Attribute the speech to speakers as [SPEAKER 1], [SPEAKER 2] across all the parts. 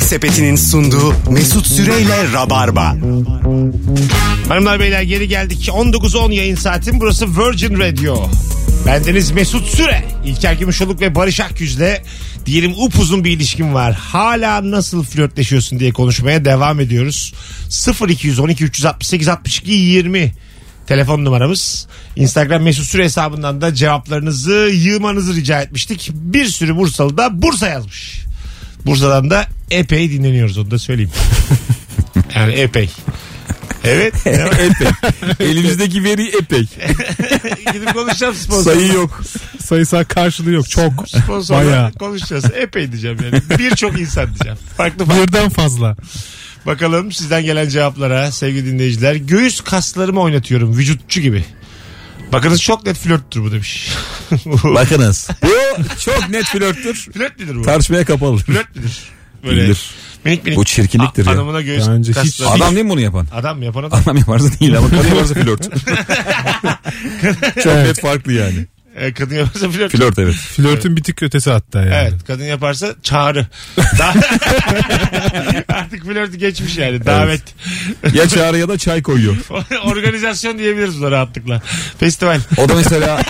[SPEAKER 1] Sepeti'nin sunduğu Mesut Süreyle Rabarba.
[SPEAKER 2] Hanımlar beyler geri geldik. 19.10 yayın saatim. Burası Virgin Radio. Bendeniz Mesut Süre. İlker Gümüşoluk ve Barış Akyüz'le diyelim upuzun bir ilişkim var. Hala nasıl flörtleşiyorsun diye konuşmaya devam ediyoruz. 0212 368 62 20 telefon numaramız. Instagram Mesut Süre hesabından da cevaplarınızı yığmanızı rica etmiştik. Bir sürü Bursalı da Bursa yazmış. Bursa'dan da epey dinleniyoruz onu da söyleyeyim. yani epey. Evet. ne var?
[SPEAKER 3] epey. Elimizdeki veri epey.
[SPEAKER 2] Gidip konuşacağım sponsor.
[SPEAKER 3] Sayı yok.
[SPEAKER 4] Sayısal karşılığı yok. Çok.
[SPEAKER 2] Sponsorla
[SPEAKER 4] Bayağı.
[SPEAKER 2] konuşacağız. Epey diyeceğim yani. Birçok insan diyeceğim. Farklı farklı.
[SPEAKER 4] Birden fazla.
[SPEAKER 2] Bakalım sizden gelen cevaplara sevgili dinleyiciler. Göğüs kaslarımı oynatıyorum vücutçu gibi. Bakınız çok net flörttür bu demiş.
[SPEAKER 3] Bakınız. Bu çok net flörttür.
[SPEAKER 2] Flört midir bu?
[SPEAKER 3] Tartışmaya kapalı.
[SPEAKER 2] Flört midir? Böyle
[SPEAKER 3] Bilir.
[SPEAKER 2] minik minik.
[SPEAKER 3] Bu çirkinliktir
[SPEAKER 2] A-
[SPEAKER 3] ya.
[SPEAKER 2] Hanımına göğüs
[SPEAKER 4] Bence hiç-
[SPEAKER 2] kasları. Adam,
[SPEAKER 3] Adam değil mi bunu yapan?
[SPEAKER 2] adam yapan adam.
[SPEAKER 3] Adam yaparsa değil ama kadın yaparsa flört. çok net farklı yani.
[SPEAKER 2] Ee, kadın yaparsa flört.
[SPEAKER 3] Flört evet.
[SPEAKER 4] Flörtün bir tık ötesi hatta yani.
[SPEAKER 2] Evet kadın yaparsa çağrı. Daha... Artık flörtü geçmiş yani. Davet.
[SPEAKER 3] Ya çağrı ya da çay koyuyor.
[SPEAKER 2] Organizasyon diyebiliriz buna rahatlıkla. Festival.
[SPEAKER 3] O da mesela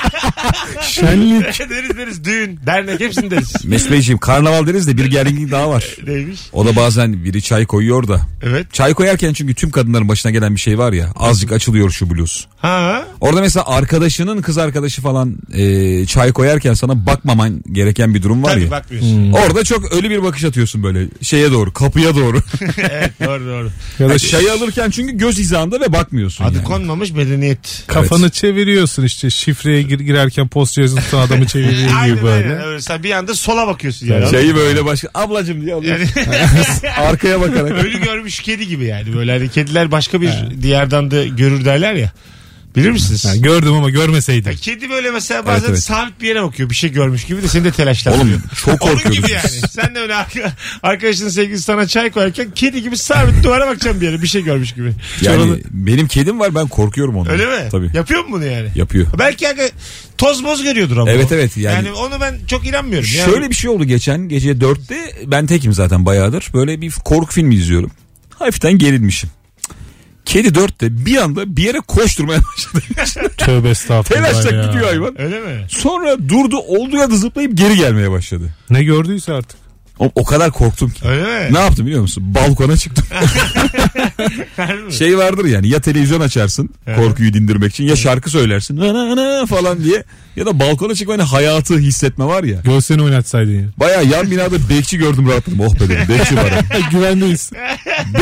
[SPEAKER 4] Şenlik.
[SPEAKER 2] deriz deriz düğün, dernek hepsini deriz.
[SPEAKER 3] Mesut Beyciğim karnaval deriz de bir gerginlik daha var.
[SPEAKER 2] Neymiş?
[SPEAKER 3] O da bazen biri çay koyuyor da.
[SPEAKER 2] Evet.
[SPEAKER 3] Çay koyarken çünkü tüm kadınların başına gelen bir şey var ya. Azıcık açılıyor şu bluz.
[SPEAKER 2] Ha.
[SPEAKER 3] Orada mesela arkadaşının kız arkadaşı falan e, çay koyarken sana bakmaman gereken bir durum var
[SPEAKER 2] Tabii
[SPEAKER 3] ya. Hmm.
[SPEAKER 2] bakmıyorsun.
[SPEAKER 3] Orada çok ölü bir bakış atıyorsun böyle şeye doğru kapıya doğru.
[SPEAKER 2] evet doğru doğru.
[SPEAKER 4] Ya da şey.
[SPEAKER 3] Çayı alırken çünkü göz hizanda ve bakmıyorsun
[SPEAKER 2] Adı
[SPEAKER 3] yani.
[SPEAKER 2] konmamış medeniyet.
[SPEAKER 4] Kafanı çeviriyorsun işte şifreye gir, girerken post yazın tutan adamı çeviriyor
[SPEAKER 2] Aynen
[SPEAKER 4] gibi
[SPEAKER 2] öyle.
[SPEAKER 4] böyle.
[SPEAKER 2] öyle. Sen bir anda sola bakıyorsun yani.
[SPEAKER 3] Şeyi böyle başka ablacım diye alıyorsun. Arkaya bakarak.
[SPEAKER 2] Ölü görmüş kedi gibi yani. Böyle hani kediler başka bir diyardan da görür derler ya. Bilir misiniz?
[SPEAKER 4] Yani gördüm ama
[SPEAKER 2] Ya
[SPEAKER 4] görmeseydim.
[SPEAKER 2] Kedi böyle mesela bazen
[SPEAKER 3] evet.
[SPEAKER 2] sabit bir yere bakıyor. Bir şey görmüş gibi de seni de telaşlandırıyor.
[SPEAKER 3] Oğlum çok
[SPEAKER 2] Onun
[SPEAKER 3] korkuyoruz.
[SPEAKER 2] gibi yani. Sen de öyle arka- arkadaşının sevgilisi sana çay koyarken kedi gibi sabit duvara bakacaksın bir yere. Bir şey görmüş gibi.
[SPEAKER 3] Yani benim kedim var ben korkuyorum ondan.
[SPEAKER 2] Öyle mi?
[SPEAKER 3] Tabii.
[SPEAKER 2] Yapıyor mu bunu yani?
[SPEAKER 3] Yapıyor.
[SPEAKER 2] Belki yani toz boz görüyordur ama.
[SPEAKER 3] Evet,
[SPEAKER 2] o.
[SPEAKER 3] evet, yani-
[SPEAKER 2] onu ben çok inanmıyorum. Yani.
[SPEAKER 3] Şöyle bir şey oldu geçen gece 4'te ben tekim zaten bayağıdır. Böyle bir korku filmi izliyorum. Hafiften gerilmişim. Kedi 4'te bir anda bir yere koşturmaya başladı.
[SPEAKER 4] Tövbe estağfurullah
[SPEAKER 3] Telaşla
[SPEAKER 4] ya.
[SPEAKER 3] gidiyor hayvan.
[SPEAKER 2] Öyle mi?
[SPEAKER 3] Sonra durdu olduğu yerde zıplayıp geri gelmeye başladı.
[SPEAKER 4] Ne gördüyse artık.
[SPEAKER 3] O, o kadar korktum ki.
[SPEAKER 2] Öyle mi?
[SPEAKER 3] Ne yaptım biliyor musun? Balkona çıktım.
[SPEAKER 2] Harbi mi?
[SPEAKER 3] şey vardır yani ya televizyon açarsın korkuyu dindirmek için ya şarkı söylersin "Na na na" falan diye ya da balkona çıkma hani hayatı hissetme var ya.
[SPEAKER 4] Göğsünü oynatsaydın ya.
[SPEAKER 3] Baya yan binada bekçi gördüm rahatladım. Oh be dedim bekçi var. ha.
[SPEAKER 4] Güvendeyiz.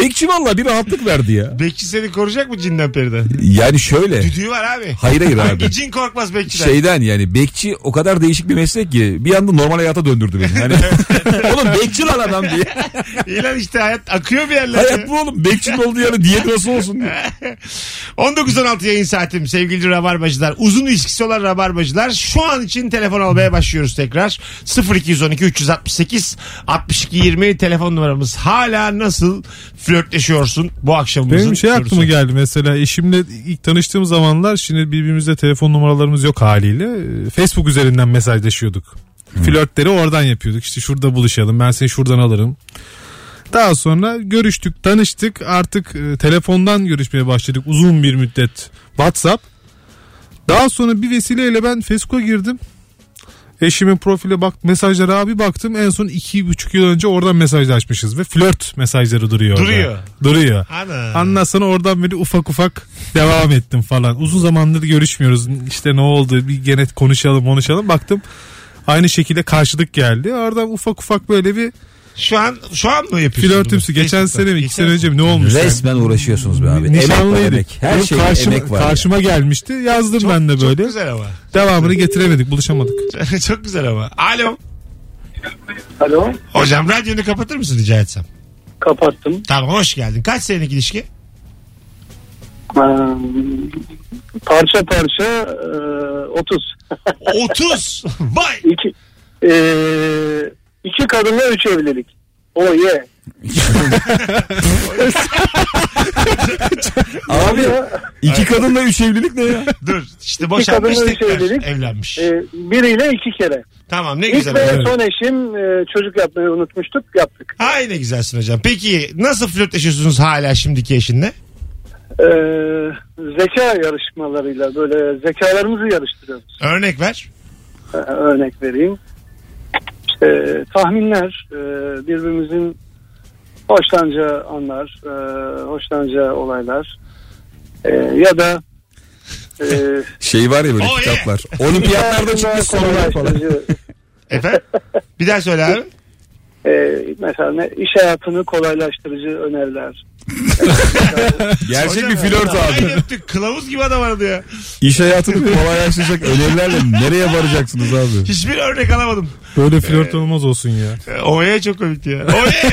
[SPEAKER 3] bekçi valla bir rahatlık verdi ya.
[SPEAKER 2] Bekçi seni koruyacak mı cinden periden?
[SPEAKER 3] Yani şöyle.
[SPEAKER 2] Düdüğü var abi.
[SPEAKER 3] Hayır hayır abi. Şey-
[SPEAKER 2] Hangi cin korkmaz bekçiden?
[SPEAKER 3] Şeyden yani bekçi o kadar değişik bir meslek ki bir anda normal hayata döndürdü beni. Yani, oğlum bekçi lan adam diye.
[SPEAKER 2] İyi lan işte hayat akıyor bir yerlerde.
[SPEAKER 3] Hayat bu oğlum. Bekçinin olduğu yerde diyet nasıl olsun diye.
[SPEAKER 2] 19-16 yayın saatim sevgili rabarbacılar. Uzun ilişkisi olan rabarbacılar. Şu an için telefon almaya başlıyoruz tekrar. 0212 368 62 20 telefon numaramız. Hala nasıl flörtleşiyorsun bu akşamımızın
[SPEAKER 4] Benim şey aklıma
[SPEAKER 2] sorusu.
[SPEAKER 4] geldi mesela eşimle ilk tanıştığım zamanlar şimdi birbirimizde telefon numaralarımız yok haliyle. Ee, Facebook üzerinden mesajlaşıyorduk. Flörtleri oradan yapıyorduk. İşte şurada buluşalım ben seni şuradan alırım. Daha sonra görüştük, tanıştık. Artık e, telefondan görüşmeye başladık uzun bir müddet. WhatsApp. Daha sonra bir vesileyle ben Facebook'a girdim. Eşimin profile bak mesajlara abi baktım. En son iki buçuk yıl önce oradan mesajlaşmışız ve flört mesajları duruyor. orada.
[SPEAKER 2] Duruyor.
[SPEAKER 4] Duruyor.
[SPEAKER 2] Ana.
[SPEAKER 4] Ondan sonra oradan beri ufak ufak devam ettim falan. Uzun zamandır görüşmüyoruz. İşte ne oldu bir gene konuşalım konuşalım. Baktım aynı şekilde karşılık geldi. Oradan ufak ufak böyle bir
[SPEAKER 2] Şu an şu an mı yapıyorsun?
[SPEAKER 4] flörtümsü.
[SPEAKER 2] bunu?
[SPEAKER 4] Geçen sene mi iki
[SPEAKER 2] şey Geçen
[SPEAKER 4] sene önce mi ne olmuş? yani?
[SPEAKER 3] Resmen uğraşıyorsunuz be abi. Emek var
[SPEAKER 4] Nişanlıydık.
[SPEAKER 3] emek. Her
[SPEAKER 4] Benim
[SPEAKER 3] şey
[SPEAKER 4] karşıma,
[SPEAKER 3] emek var.
[SPEAKER 4] Karşıma gelmişti. Yazdım ben de
[SPEAKER 2] Çok
[SPEAKER 4] böyle.
[SPEAKER 2] güzel ama.
[SPEAKER 4] Devamını getiremedik buluşamadık.
[SPEAKER 2] çok güzel ama. Alo.
[SPEAKER 5] Alo.
[SPEAKER 2] Hocam radyonu kapatır mısın rica etsem?
[SPEAKER 5] Kapattım.
[SPEAKER 2] Tamam hoş geldin. Kaç senelik ilişki?
[SPEAKER 5] Ee, parça parça e, 30.
[SPEAKER 2] 30. Vay.
[SPEAKER 5] İki, e, iki kadınla üç evlilik. O ye.
[SPEAKER 3] Abi iki kadınla üç evlilik ne ya?
[SPEAKER 2] Dur işte boşanmış
[SPEAKER 5] kadınla üç
[SPEAKER 2] tekrar
[SPEAKER 5] evlilik.
[SPEAKER 2] evlenmiş.
[SPEAKER 5] Ee, biriyle iki kere.
[SPEAKER 2] tamam ne
[SPEAKER 5] İlk
[SPEAKER 2] güzel.
[SPEAKER 5] ve
[SPEAKER 2] hocam.
[SPEAKER 5] son eşim e, çocuk yapmayı unutmuştuk yaptık.
[SPEAKER 2] Ay ne güzelsin hocam. Peki nasıl flörtleşiyorsunuz hala şimdiki eşinle?
[SPEAKER 5] Ee, zeka yarışmalarıyla böyle zekalarımızı yarıştırıyoruz.
[SPEAKER 2] Örnek ver.
[SPEAKER 5] Ee, örnek vereyim. İşte tahminler e, birbirimizin hoşlanca anlar, e, hoşlanca olaylar e, ya da e,
[SPEAKER 3] Şey var ya böyle
[SPEAKER 2] Oh, yeah.
[SPEAKER 3] kitaplar. Olimpiyatlarda çıkmış sorular falan.
[SPEAKER 2] Efendim? Bir daha söyle abi.
[SPEAKER 5] E, mesela ne, iş hayatını kolaylaştırıcı öneriler.
[SPEAKER 3] Gerçek
[SPEAKER 2] Hocam ya,
[SPEAKER 3] bir flört
[SPEAKER 2] Ay
[SPEAKER 3] abi.
[SPEAKER 2] öptük. Kılavuz gibi adam aradı ya.
[SPEAKER 3] İş hayatını kolaylaştıracak önerilerle nereye varacaksınız abi?
[SPEAKER 2] Hiçbir örnek alamadım.
[SPEAKER 4] Böyle flört olmaz olsun ya.
[SPEAKER 2] Ee, Oye çok komikti ya. Oye!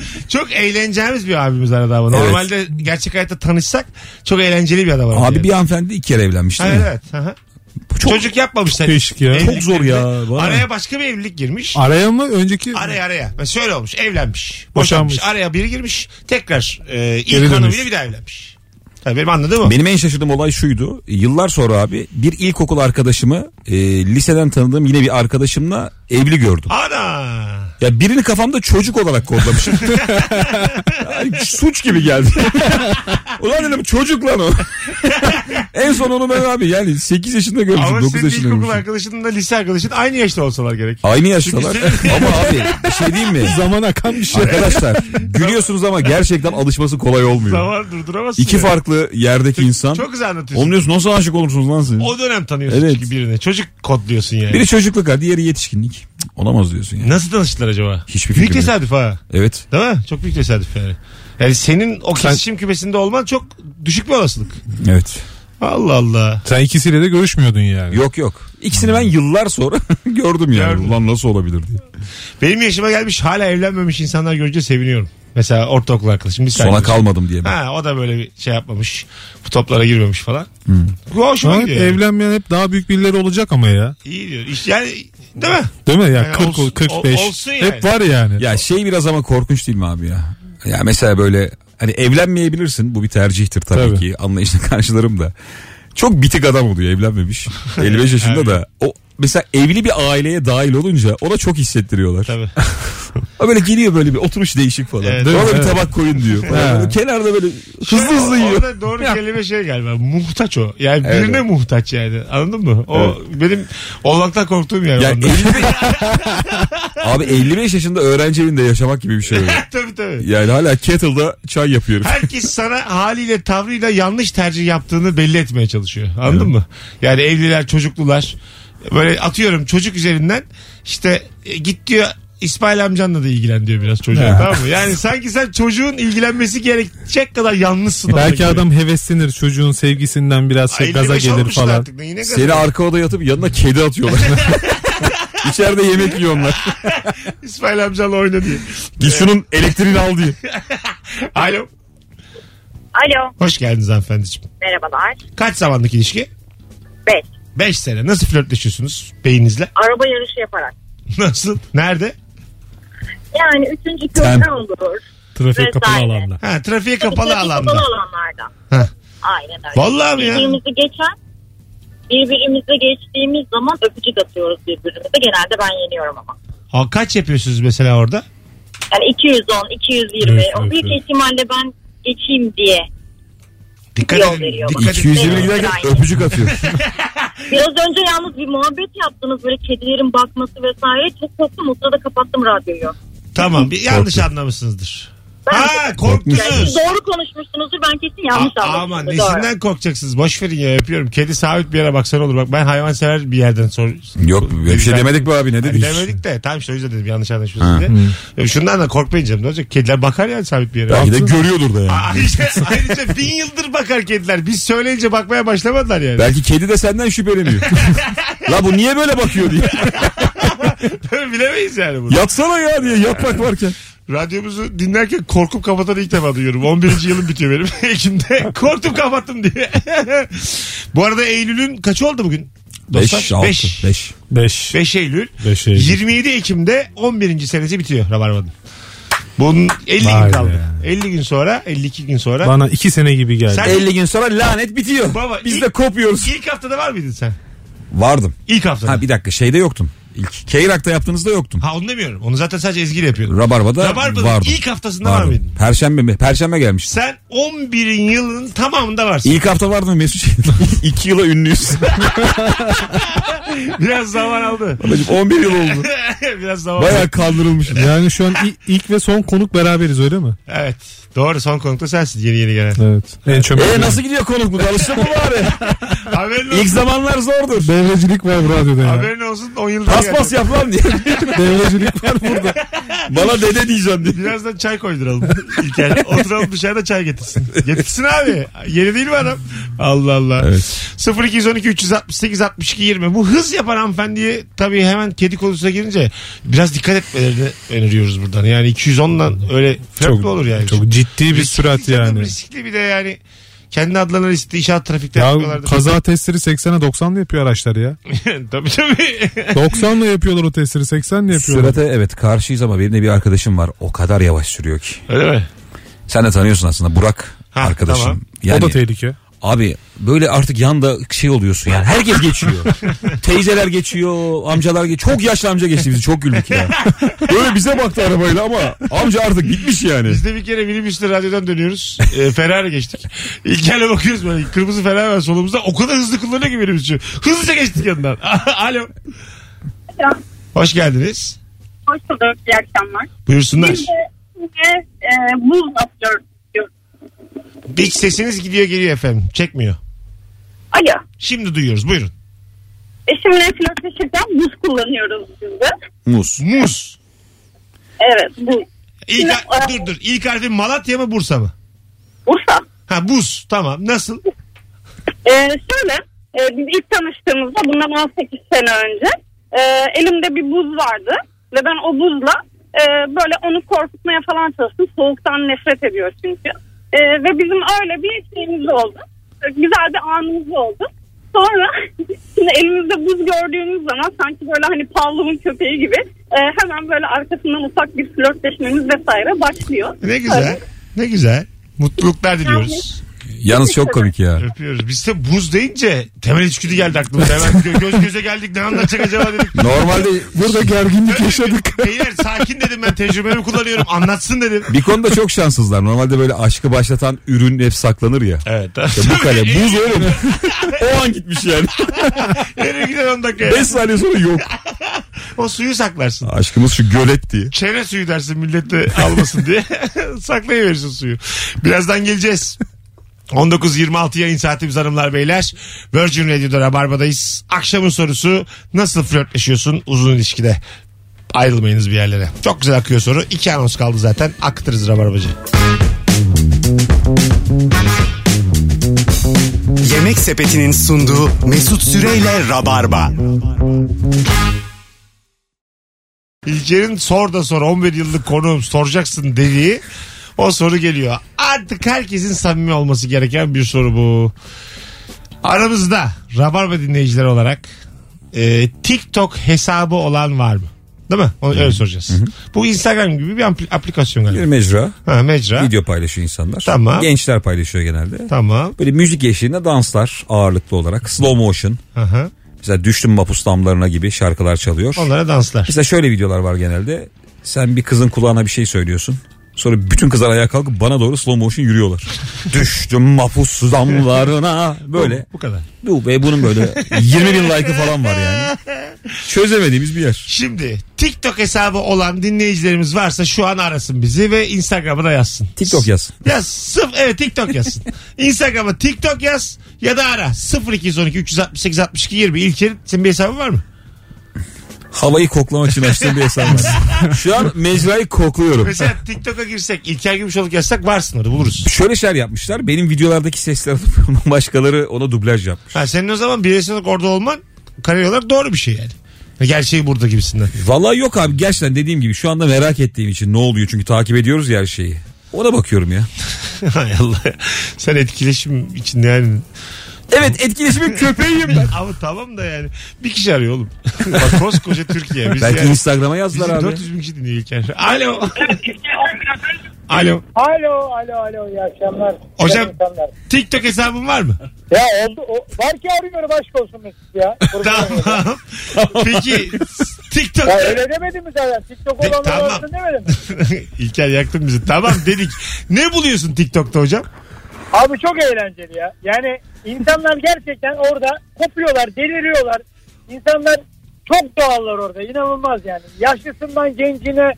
[SPEAKER 2] çok eğleneceğimiz bir abimiz aradı ama. Normalde gerçek hayatta tanışsak çok eğlenceli bir adam aradı.
[SPEAKER 3] Abi
[SPEAKER 2] yani.
[SPEAKER 3] bir hanımefendi iki kere evlenmiş değil
[SPEAKER 2] Evet.
[SPEAKER 3] mi?
[SPEAKER 2] evet. Aha.
[SPEAKER 3] Çok-
[SPEAKER 2] Çocuk yapmamışlar.
[SPEAKER 4] Çok değişik ya.
[SPEAKER 2] Evliliklerinde
[SPEAKER 3] Çok zor ya, bana.
[SPEAKER 2] Araya başka bir evlilik girmiş.
[SPEAKER 4] Araya mı önceki?
[SPEAKER 2] Araya araya. Mesela Şöyle olmuş. Evlenmiş. Boşanmış.
[SPEAKER 4] Boşanmış.
[SPEAKER 2] Araya biri girmiş. Tekrar e, ilk
[SPEAKER 4] Geri dönmüş.
[SPEAKER 2] hanımıyla bir daha evlenmiş. Tabii benim anladığım o.
[SPEAKER 3] Benim en şaşırdığım olay şuydu. Yıllar sonra abi bir ilkokul arkadaşımı e, liseden tanıdığım yine bir arkadaşımla evli gördüm.
[SPEAKER 2] Ana.
[SPEAKER 3] Ya birini kafamda çocuk olarak kodlamışım. Ay, suç gibi geldi. Ulan dedim çocuk lan o. en son onu ben abi yani 8 yaşında görmüşüm
[SPEAKER 2] Ama
[SPEAKER 3] 9
[SPEAKER 2] senin
[SPEAKER 3] yaşında görmüşüm.
[SPEAKER 2] ilkokul arkadaşınla lise arkadaşın aynı yaşta olsalar gerek.
[SPEAKER 3] Aynı yaştalar.
[SPEAKER 2] Çünkü senin-
[SPEAKER 3] ama abi bir şey diyeyim mi?
[SPEAKER 4] Zaman akan bir şey.
[SPEAKER 3] Arkadaşlar gülüyorsunuz ama gerçekten alışması kolay olmuyor.
[SPEAKER 2] Zaman durduramazsın.
[SPEAKER 3] İki
[SPEAKER 2] ya.
[SPEAKER 3] farklı yerdeki insan.
[SPEAKER 2] Çok güzel anlatıyorsun.
[SPEAKER 3] Oğlum diyorsun nasıl aşık olursunuz lan siz?
[SPEAKER 2] O dönem tanıyorsun
[SPEAKER 3] Evet.
[SPEAKER 2] çünkü birini. Çocuk kodluyorsun yani.
[SPEAKER 3] Biri çocukluk ha diğeri yetişkinlik. Cık, Olamaz diyorsun yani.
[SPEAKER 2] Nasıl tanıştılar acaba?
[SPEAKER 3] Hiçbir
[SPEAKER 2] Büyük
[SPEAKER 3] fikrim yok.
[SPEAKER 2] tesadüf ha.
[SPEAKER 3] Evet.
[SPEAKER 2] Değil mi? Çok büyük tesadüf yani. Yani senin o kesişim kümesinde olman çok düşük bir olasılık.
[SPEAKER 3] Evet.
[SPEAKER 2] Allah Allah.
[SPEAKER 4] Sen ikisiyle de görüşmüyordun yani.
[SPEAKER 3] Yok yok. İkisini ben yıllar sonra gördüm yani.
[SPEAKER 2] Gördüm.
[SPEAKER 3] Ulan nasıl olabilir diye.
[SPEAKER 2] Benim yaşıma gelmiş hala evlenmemiş insanlar görünce seviniyorum. Mesela ortaokul arkadaşım. Biz
[SPEAKER 3] Sona kalmadım diye ben.
[SPEAKER 2] Ha o da böyle bir şey yapmamış. Bu toplara girmemiş falan.
[SPEAKER 3] Hmm.
[SPEAKER 2] Bu hoşuma
[SPEAKER 4] Ama hep
[SPEAKER 2] gidiyor. yani.
[SPEAKER 4] evlenmeyen hep daha büyük birileri olacak ama ya.
[SPEAKER 2] İyi diyor. İş- Yani değil mi?
[SPEAKER 4] Değil mi?
[SPEAKER 2] Yani
[SPEAKER 4] Ya 40
[SPEAKER 2] olsun-
[SPEAKER 4] 45.
[SPEAKER 2] ol- olsun yani.
[SPEAKER 4] Hep var yani.
[SPEAKER 3] Ya şey biraz ama korkunç değil mi abi ya? Ya mesela böyle hani evlenmeyebilirsin. Bu bir tercihtir tabii,
[SPEAKER 4] Tabii.
[SPEAKER 3] ki. Anlayışla karşılarım da. Çok bitik adam oluyor evlenmemiş. 55 yaşında da. O mesela evli bir aileye dahil olunca ona çok hissettiriyorlar.
[SPEAKER 2] Tabii.
[SPEAKER 3] O böyle geliyor böyle bir oturuş değişik falan.
[SPEAKER 2] Evet.
[SPEAKER 3] Ona
[SPEAKER 4] Değil mi?
[SPEAKER 3] bir
[SPEAKER 4] Evet.
[SPEAKER 3] tabak koyun diyor. Falan. Böyle kenarda böyle hızlı hızlı
[SPEAKER 2] Şöyle,
[SPEAKER 3] yiyor.
[SPEAKER 2] Orada doğru kelime şey galiba. Muhtaç o. Yani
[SPEAKER 3] Evet.
[SPEAKER 2] birine muhtaç yani. Anladın mı? O benim olmaktan korktuğum yer.
[SPEAKER 3] Ya
[SPEAKER 2] Yani
[SPEAKER 3] 55 Abi 55 yaşında öğrenci evinde yaşamak gibi bir şey. öyle.
[SPEAKER 2] tabii tabii.
[SPEAKER 3] Yani hala kettle'da çay yapıyorum.
[SPEAKER 2] Herkes sana haliyle tavrıyla yanlış tercih yaptığını belli etmeye çalışıyor. Anladın mı? Yani evliler, çocuklular. Böyle atıyorum çocuk üzerinden işte e, git diyor İsmail amcanla da ilgilen diyor biraz çocuğa tamam mı? Yani sanki sen çocuğun ilgilenmesi gerekecek kadar yalnızsın.
[SPEAKER 4] Belki
[SPEAKER 2] orada gibi.
[SPEAKER 4] adam heveslenir çocuğun sevgisinden biraz şey
[SPEAKER 2] Ay,
[SPEAKER 4] gaza
[SPEAKER 2] 55
[SPEAKER 4] gelir
[SPEAKER 2] olmuşlar
[SPEAKER 4] falan.
[SPEAKER 2] artık. Ne- ne
[SPEAKER 3] Seni arka odaya atıp yanına kedi atıyorlar. İçeride yemek yiyorlar.
[SPEAKER 2] İsmail amcanla oyna diye.
[SPEAKER 3] Git şunun elektriğini al diye.
[SPEAKER 2] Alo.
[SPEAKER 6] Alo
[SPEAKER 2] Hoş geldiniz hanımefendiciğim.
[SPEAKER 6] merhabalar.
[SPEAKER 2] Kaç zamanlık ilişki?
[SPEAKER 6] 5.
[SPEAKER 2] 5 sene. Nasıl flörtleşiyorsunuz beyninizle?
[SPEAKER 6] Araba yarışı yaparak.
[SPEAKER 2] Nasıl? Nerede?
[SPEAKER 6] Yani üçüncü
[SPEAKER 3] Tem.
[SPEAKER 6] köprü olur.
[SPEAKER 4] Trafik kapalı
[SPEAKER 6] Vesaire.
[SPEAKER 4] alanda.
[SPEAKER 2] Ha, trafiğe
[SPEAKER 6] Tabii
[SPEAKER 2] kapalı
[SPEAKER 6] trafik
[SPEAKER 2] alanda.
[SPEAKER 6] Kapalı alanlarda.
[SPEAKER 2] Heh.
[SPEAKER 6] Aynen öyle.
[SPEAKER 2] Vallahi mi ya?
[SPEAKER 6] Birbirimizi geçen birbirimize geçtiğimiz zaman öpücük atıyoruz birbirimize. Genelde ben yeniyorum ama.
[SPEAKER 2] Ha, kaç yapıyorsunuz mesela orada?
[SPEAKER 6] Yani 210, 220.
[SPEAKER 4] Evet,
[SPEAKER 6] o
[SPEAKER 4] evet,
[SPEAKER 6] büyük
[SPEAKER 4] evet.
[SPEAKER 6] ihtimalle ben geçeyim diye.
[SPEAKER 2] Dikkat
[SPEAKER 6] Yol
[SPEAKER 2] edin.
[SPEAKER 6] veriyor.
[SPEAKER 2] Dikkat edin.
[SPEAKER 3] 220 giderken öpücük atıyor.
[SPEAKER 6] Biraz önce yalnız bir muhabbet yaptınız böyle kedilerin bakması vesaire. Çok korktum o sırada kapattım radyoyu.
[SPEAKER 2] Tamam bir yanlış
[SPEAKER 3] Korktum.
[SPEAKER 2] anlamışsınızdır.
[SPEAKER 6] Ben-
[SPEAKER 2] Ha
[SPEAKER 6] Yani siz
[SPEAKER 2] korktunuz.
[SPEAKER 6] doğru konuşmuşsunuzdur ben kesin yanlış
[SPEAKER 2] A-
[SPEAKER 6] anladım.
[SPEAKER 2] Aman nesinden korkacaksınız? Boş verin ya yapıyorum. Kedi sabit bir yere baksan olur. Bak ben hayvan sever bir yerden sor.
[SPEAKER 3] Yok bir şey demedik be abi ne
[SPEAKER 2] Yani
[SPEAKER 3] dedik?
[SPEAKER 2] demedik de tamam işte o yüzden dedim yanlış anlaşılmasın diye. Ya Şundan da korkmayın canım ne olacak? Kediler bakar yani sabit bir yere.
[SPEAKER 3] Belki de görüyordur da yani.
[SPEAKER 2] Ayrıca, ayrıca bin yıldır bakar kediler. Biz söyleyince bakmaya başlamadılar yani.
[SPEAKER 3] Belki kedi de senden şüpheleniyor. La bu niye böyle bakıyor diye.
[SPEAKER 2] Bilemeyiz yani bunu.
[SPEAKER 3] Yatsana ya diye yatmak varken.
[SPEAKER 2] Radyomuzu dinlerken korkup kapatan ilk defa duyuyorum. 11. yılım bitiyor benim. Ekim'de korktum kapattım diye. Bu arada Eylül'ün kaçı oldu bugün?
[SPEAKER 3] 5 6
[SPEAKER 2] 5.
[SPEAKER 3] 5.
[SPEAKER 4] 5.
[SPEAKER 2] 5 Eylül.
[SPEAKER 4] Beş Eylül.
[SPEAKER 2] 27 Ekim'de 11. senesi bitiyor Rabarba'nın. Bunun 50 gün
[SPEAKER 4] Vay
[SPEAKER 2] kaldı.
[SPEAKER 4] be.
[SPEAKER 2] 50 gün sonra 52 gün sonra.
[SPEAKER 4] Bana iki sene gibi geldi.
[SPEAKER 2] Sen-
[SPEAKER 3] 50 gün sonra lanet bitiyor.
[SPEAKER 2] Baba,
[SPEAKER 3] Biz
[SPEAKER 2] ilk-
[SPEAKER 3] de kopuyoruz.
[SPEAKER 2] İlk haftada var mıydın sen?
[SPEAKER 3] Vardım.
[SPEAKER 2] İlk haftada. Ha,
[SPEAKER 3] Ha bir dakika şeyde yoktum. İlk Keyrak'ta yaptığınızda yoktum.
[SPEAKER 2] onu demiyorum. Onu zaten sadece ezgiyle yapıyordum.
[SPEAKER 3] Rabarba'da
[SPEAKER 2] Rabarba'nın
[SPEAKER 3] vardım.
[SPEAKER 2] ilk haftasında var
[SPEAKER 3] Vardım.
[SPEAKER 2] mıydın?
[SPEAKER 3] Perşembe mi? Perşembe gelmiş.
[SPEAKER 2] Sen 11. yılın tamamında varsın.
[SPEAKER 3] İlk hafta vardı mı Mesut? İki yıla ünlüyüz.
[SPEAKER 2] Biraz zaman aldı.
[SPEAKER 3] 11 yıl oldu.
[SPEAKER 2] Biraz zaman aldı.
[SPEAKER 3] Bayağı kandırılmış.
[SPEAKER 4] Yani şu an i- ilk ve son konuk beraberiz öyle mi?
[SPEAKER 2] Evet. Doğru son konukta sensin yeni yeni gelen.
[SPEAKER 4] Evet. En
[SPEAKER 3] E
[SPEAKER 4] çömel.
[SPEAKER 3] nasıl gidiyor konukluk? Alıştın mı bari?
[SPEAKER 2] Haberin olsun.
[SPEAKER 3] İlk zamanlar zordur.
[SPEAKER 4] Devrecilik var bu radyoda ya.
[SPEAKER 2] Haberin olsun 10 yılda
[SPEAKER 3] Paspas yap lan diye.
[SPEAKER 4] Devrecilik var burada.
[SPEAKER 3] Bana dede diyeceğim diye.
[SPEAKER 2] Birazdan çay koyduralım. İlker oturalım dışarıda çay getirsin. Getirsin abi. Yeni değil mi adam? Allah Allah.
[SPEAKER 3] Evet.
[SPEAKER 2] 0212 368 62 20. Bu hız yapan hanımefendiye tabii hemen kedi konusuna girince biraz dikkat etmelerini öneriyoruz buradan. Yani 210'dan öyle flört mü olur yani?
[SPEAKER 4] Çok ciddi bir
[SPEAKER 2] Riskli
[SPEAKER 4] sürat
[SPEAKER 2] canım,
[SPEAKER 4] yani.
[SPEAKER 2] Riskli bir de yani kendi adlarına riskli inşaat trafikte
[SPEAKER 4] Ya
[SPEAKER 2] yapıyorlardı.
[SPEAKER 4] kaza testleri 80'e 90'la yapıyor araçlar ya.
[SPEAKER 2] tabii tabii.
[SPEAKER 4] 90'la yapıyorlar o testleri 80'le yapıyorlar.
[SPEAKER 3] Sürate evet karşıyız ama benim de bir arkadaşım var. O kadar yavaş sürüyor ki.
[SPEAKER 2] Öyle mi?
[SPEAKER 3] Sen de tanıyorsun aslında Burak
[SPEAKER 2] Ha,
[SPEAKER 3] arkadaşım.
[SPEAKER 2] tamam.
[SPEAKER 3] Yani,
[SPEAKER 4] o da tehlike.
[SPEAKER 3] Abi böyle artık yanda şey oluyorsun yani. Herkes geçiyor. Teyzeler geçiyor, amcalar geçiyor. Çok yaşlı amca geçti bizi. Çok güldük ya. böyle bize baktı arabayla ama amca artık gitmiş yani.
[SPEAKER 2] Biz de bir kere minibüsle radyodan dönüyoruz. E, Ferrari geçtik. İlker'le bakıyoruz böyle. Kırmızı Ferrari var solumuzda. O kadar hızlı kullanıyor ki minibüsçü. Hızlıca geçtik yanından. Alo.
[SPEAKER 7] Alo.
[SPEAKER 2] Hoş geldiniz.
[SPEAKER 7] Hoş bulduk. İyi akşamlar.
[SPEAKER 2] Buyursunlar.
[SPEAKER 7] Biz de yine e, buz atıyoruz. diyoruz.
[SPEAKER 2] Hiç sesiniz gidiyor geliyor efendim. Çekmiyor.
[SPEAKER 7] Alo.
[SPEAKER 2] Şimdi duyuyoruz. Buyurun.
[SPEAKER 7] Eşimle flörtleşirken buz kullanıyoruz biz de.
[SPEAKER 3] Muz.
[SPEAKER 2] Muz.
[SPEAKER 7] Evet buz.
[SPEAKER 2] İlk, har- dur dur. İlk harfi Malatya mı Bursa mı?
[SPEAKER 7] Bursa.
[SPEAKER 2] Ha buz. Tamam. Nasıl?
[SPEAKER 7] E, şöyle e, biz ilk tanıştığımızda bundan 18 sene önce e, elimde bir buz vardı. Ve ben o buzla e, böyle onu korkutmaya falan çalıştım. Soğuktan nefret ediyor çünkü. E, ve bizim öyle bir şeyimiz oldu. E, Güzel bir anımız oldu. Sonra şimdi elimizde buz gördüğünüz zaman sanki böyle hani Pavlov'un köpeği gibi e, hemen böyle arkasından ufak bir flörtleşmemiz vesaire başlıyor.
[SPEAKER 2] Ne güzel. Ne güzel. Mutluluklar diliyoruz.
[SPEAKER 3] Yalnız çok komik ya.
[SPEAKER 2] Öpüyoruz. Biz de buz deyince temel içgüdü geldi aklımıza. Hemen gö- göz göze geldik. Ne anlatacak acaba dedik.
[SPEAKER 3] Normalde
[SPEAKER 4] Burada gerginlik yaşadık.
[SPEAKER 2] Beyler sakin dedim ben tecrübemi kullanıyorum anlatsın dedim.
[SPEAKER 3] bir konuda çok şanssızlar. Normalde böyle aşkı başlatan ürün hep saklanır ya.
[SPEAKER 2] Evet.
[SPEAKER 3] Ya bu kale buz oğlum. o an gitmiş yani.
[SPEAKER 2] Nereye gider 10 dakikaya?
[SPEAKER 3] 5 saniye sonra yok.
[SPEAKER 2] O suyu saklarsın.
[SPEAKER 3] Aşkımız şu gölet diye.
[SPEAKER 2] Çene suyu dersin millet de almasın diye. Saklayıverirsin suyu. Birazdan geleceğiz. 19.26 yayın saatimiz hanımlar beyler. Virgin Radio'da Rabarba'dayız. Akşamın sorusu nasıl flörtleşiyorsun uzun ilişkide? Ayrılmayınız bir yerlere. Çok güzel akıyor soru. İki anons kaldı zaten. Aktırız Rabarbacı.
[SPEAKER 1] Yemek Sepeti'nin sunduğu Mesut Süreyle Rabarba.
[SPEAKER 2] İlker'in sor da sor 11 yıllık konuğum soracaksın dediği o soru geliyor. Artık herkesin samimi olması gereken bir soru bu. Aramızda Rabarba dinleyicileri olarak e, TikTok hesabı olan var mı? Değil mi? Onu öyle soracağız. Bu Instagram gibi bir ampli- aplikasyon
[SPEAKER 3] Bir
[SPEAKER 2] galiba.
[SPEAKER 3] mecra.
[SPEAKER 2] Ha, mecra.
[SPEAKER 3] Video paylaşıyor insanlar.
[SPEAKER 2] Tamam.
[SPEAKER 3] Gençler paylaşıyor genelde.
[SPEAKER 2] Tamam.
[SPEAKER 3] Böyle müzik eşliğinde danslar ağırlıklı olarak. Slow motion.
[SPEAKER 2] Aha.
[SPEAKER 3] Mesela düştüm mapus damlarına gibi şarkılar çalıyor.
[SPEAKER 2] Onlara danslar.
[SPEAKER 3] Mesela şöyle videolar var genelde. Sen bir kızın kulağına bir şey söylüyorsun. Sonra bütün kızlar ayağa kalkıp bana doğru slow motion yürüyorlar. Düştüm mapus damlarına. Böyle.
[SPEAKER 2] Bu kadar.
[SPEAKER 3] Bu be bunun böyle 20 bin like'ı falan var yani. Çözemediğimiz bir yer.
[SPEAKER 2] Şimdi TikTok hesabı olan dinleyicilerimiz varsa şu an arasın bizi ve Instagram'a da yazsın.
[SPEAKER 3] TikTok yazsın.
[SPEAKER 2] Yaz. Sıf evet TikTok yazsın. Instagram'a TikTok yaz ya da ara 0212 368 62 20. İlker'in senin bir hesabın var mı?
[SPEAKER 3] Havayı koklamak için açtığım bir hesap var. Şu an mecrayı kokluyorum.
[SPEAKER 2] Mesela TikTok'a girsek İlker Gümüşoluk yazsak varsın orada buluruz.
[SPEAKER 3] Şöyle şeyler yapmışlar. Benim videolardaki sesler alıp başkaları ona dublaj yapmış.
[SPEAKER 2] Ha, senin o zaman bireysel olarak orada olman kariyer olarak doğru bir şey yani. Gerçeği burada gibisinden.
[SPEAKER 3] Vallahi yok abi gerçekten dediğim gibi şu anda merak ettiğim için ne oluyor çünkü takip ediyoruz ya her şeyi. Ona bakıyorum ya.
[SPEAKER 2] Hay Allah. Sen etkileşim içinde yani
[SPEAKER 3] Evet etkileşimin köpeğiyim ben.
[SPEAKER 2] Ama tamam da yani. Bir kişi arıyor oğlum. Bak koskoca Türkiye. Biz
[SPEAKER 3] Belki
[SPEAKER 2] yani,
[SPEAKER 3] Instagram'a yazdılar
[SPEAKER 2] bizi
[SPEAKER 3] abi.
[SPEAKER 2] 400 bin kişi dinliyor İlker. Alo. Alo.
[SPEAKER 5] Alo alo alo iyi akşamlar.
[SPEAKER 2] Hocam-
[SPEAKER 5] İyi akşamlar.
[SPEAKER 2] TikTok hesabın var mı?
[SPEAKER 5] Ya oldu. O, var ki arıyorum aşk olsun Mesut ya.
[SPEAKER 2] tamam. Peki TikTok.
[SPEAKER 5] Ya öyle demedin mi zaten? TikTok
[SPEAKER 2] Peki,
[SPEAKER 5] olanlar
[SPEAKER 2] tamam.
[SPEAKER 5] olsun demedin mi?
[SPEAKER 2] İlker yaktın bizi. Tamam dedik. Ne buluyorsun TikTok'ta hocam?
[SPEAKER 5] Abi çok eğlenceli ya. Yani insanlar gerçekten orada kopuyorlar, deliriyorlar. İnsanlar çok doğallar orada. İnanılmaz yani. Yaşlısından gencine,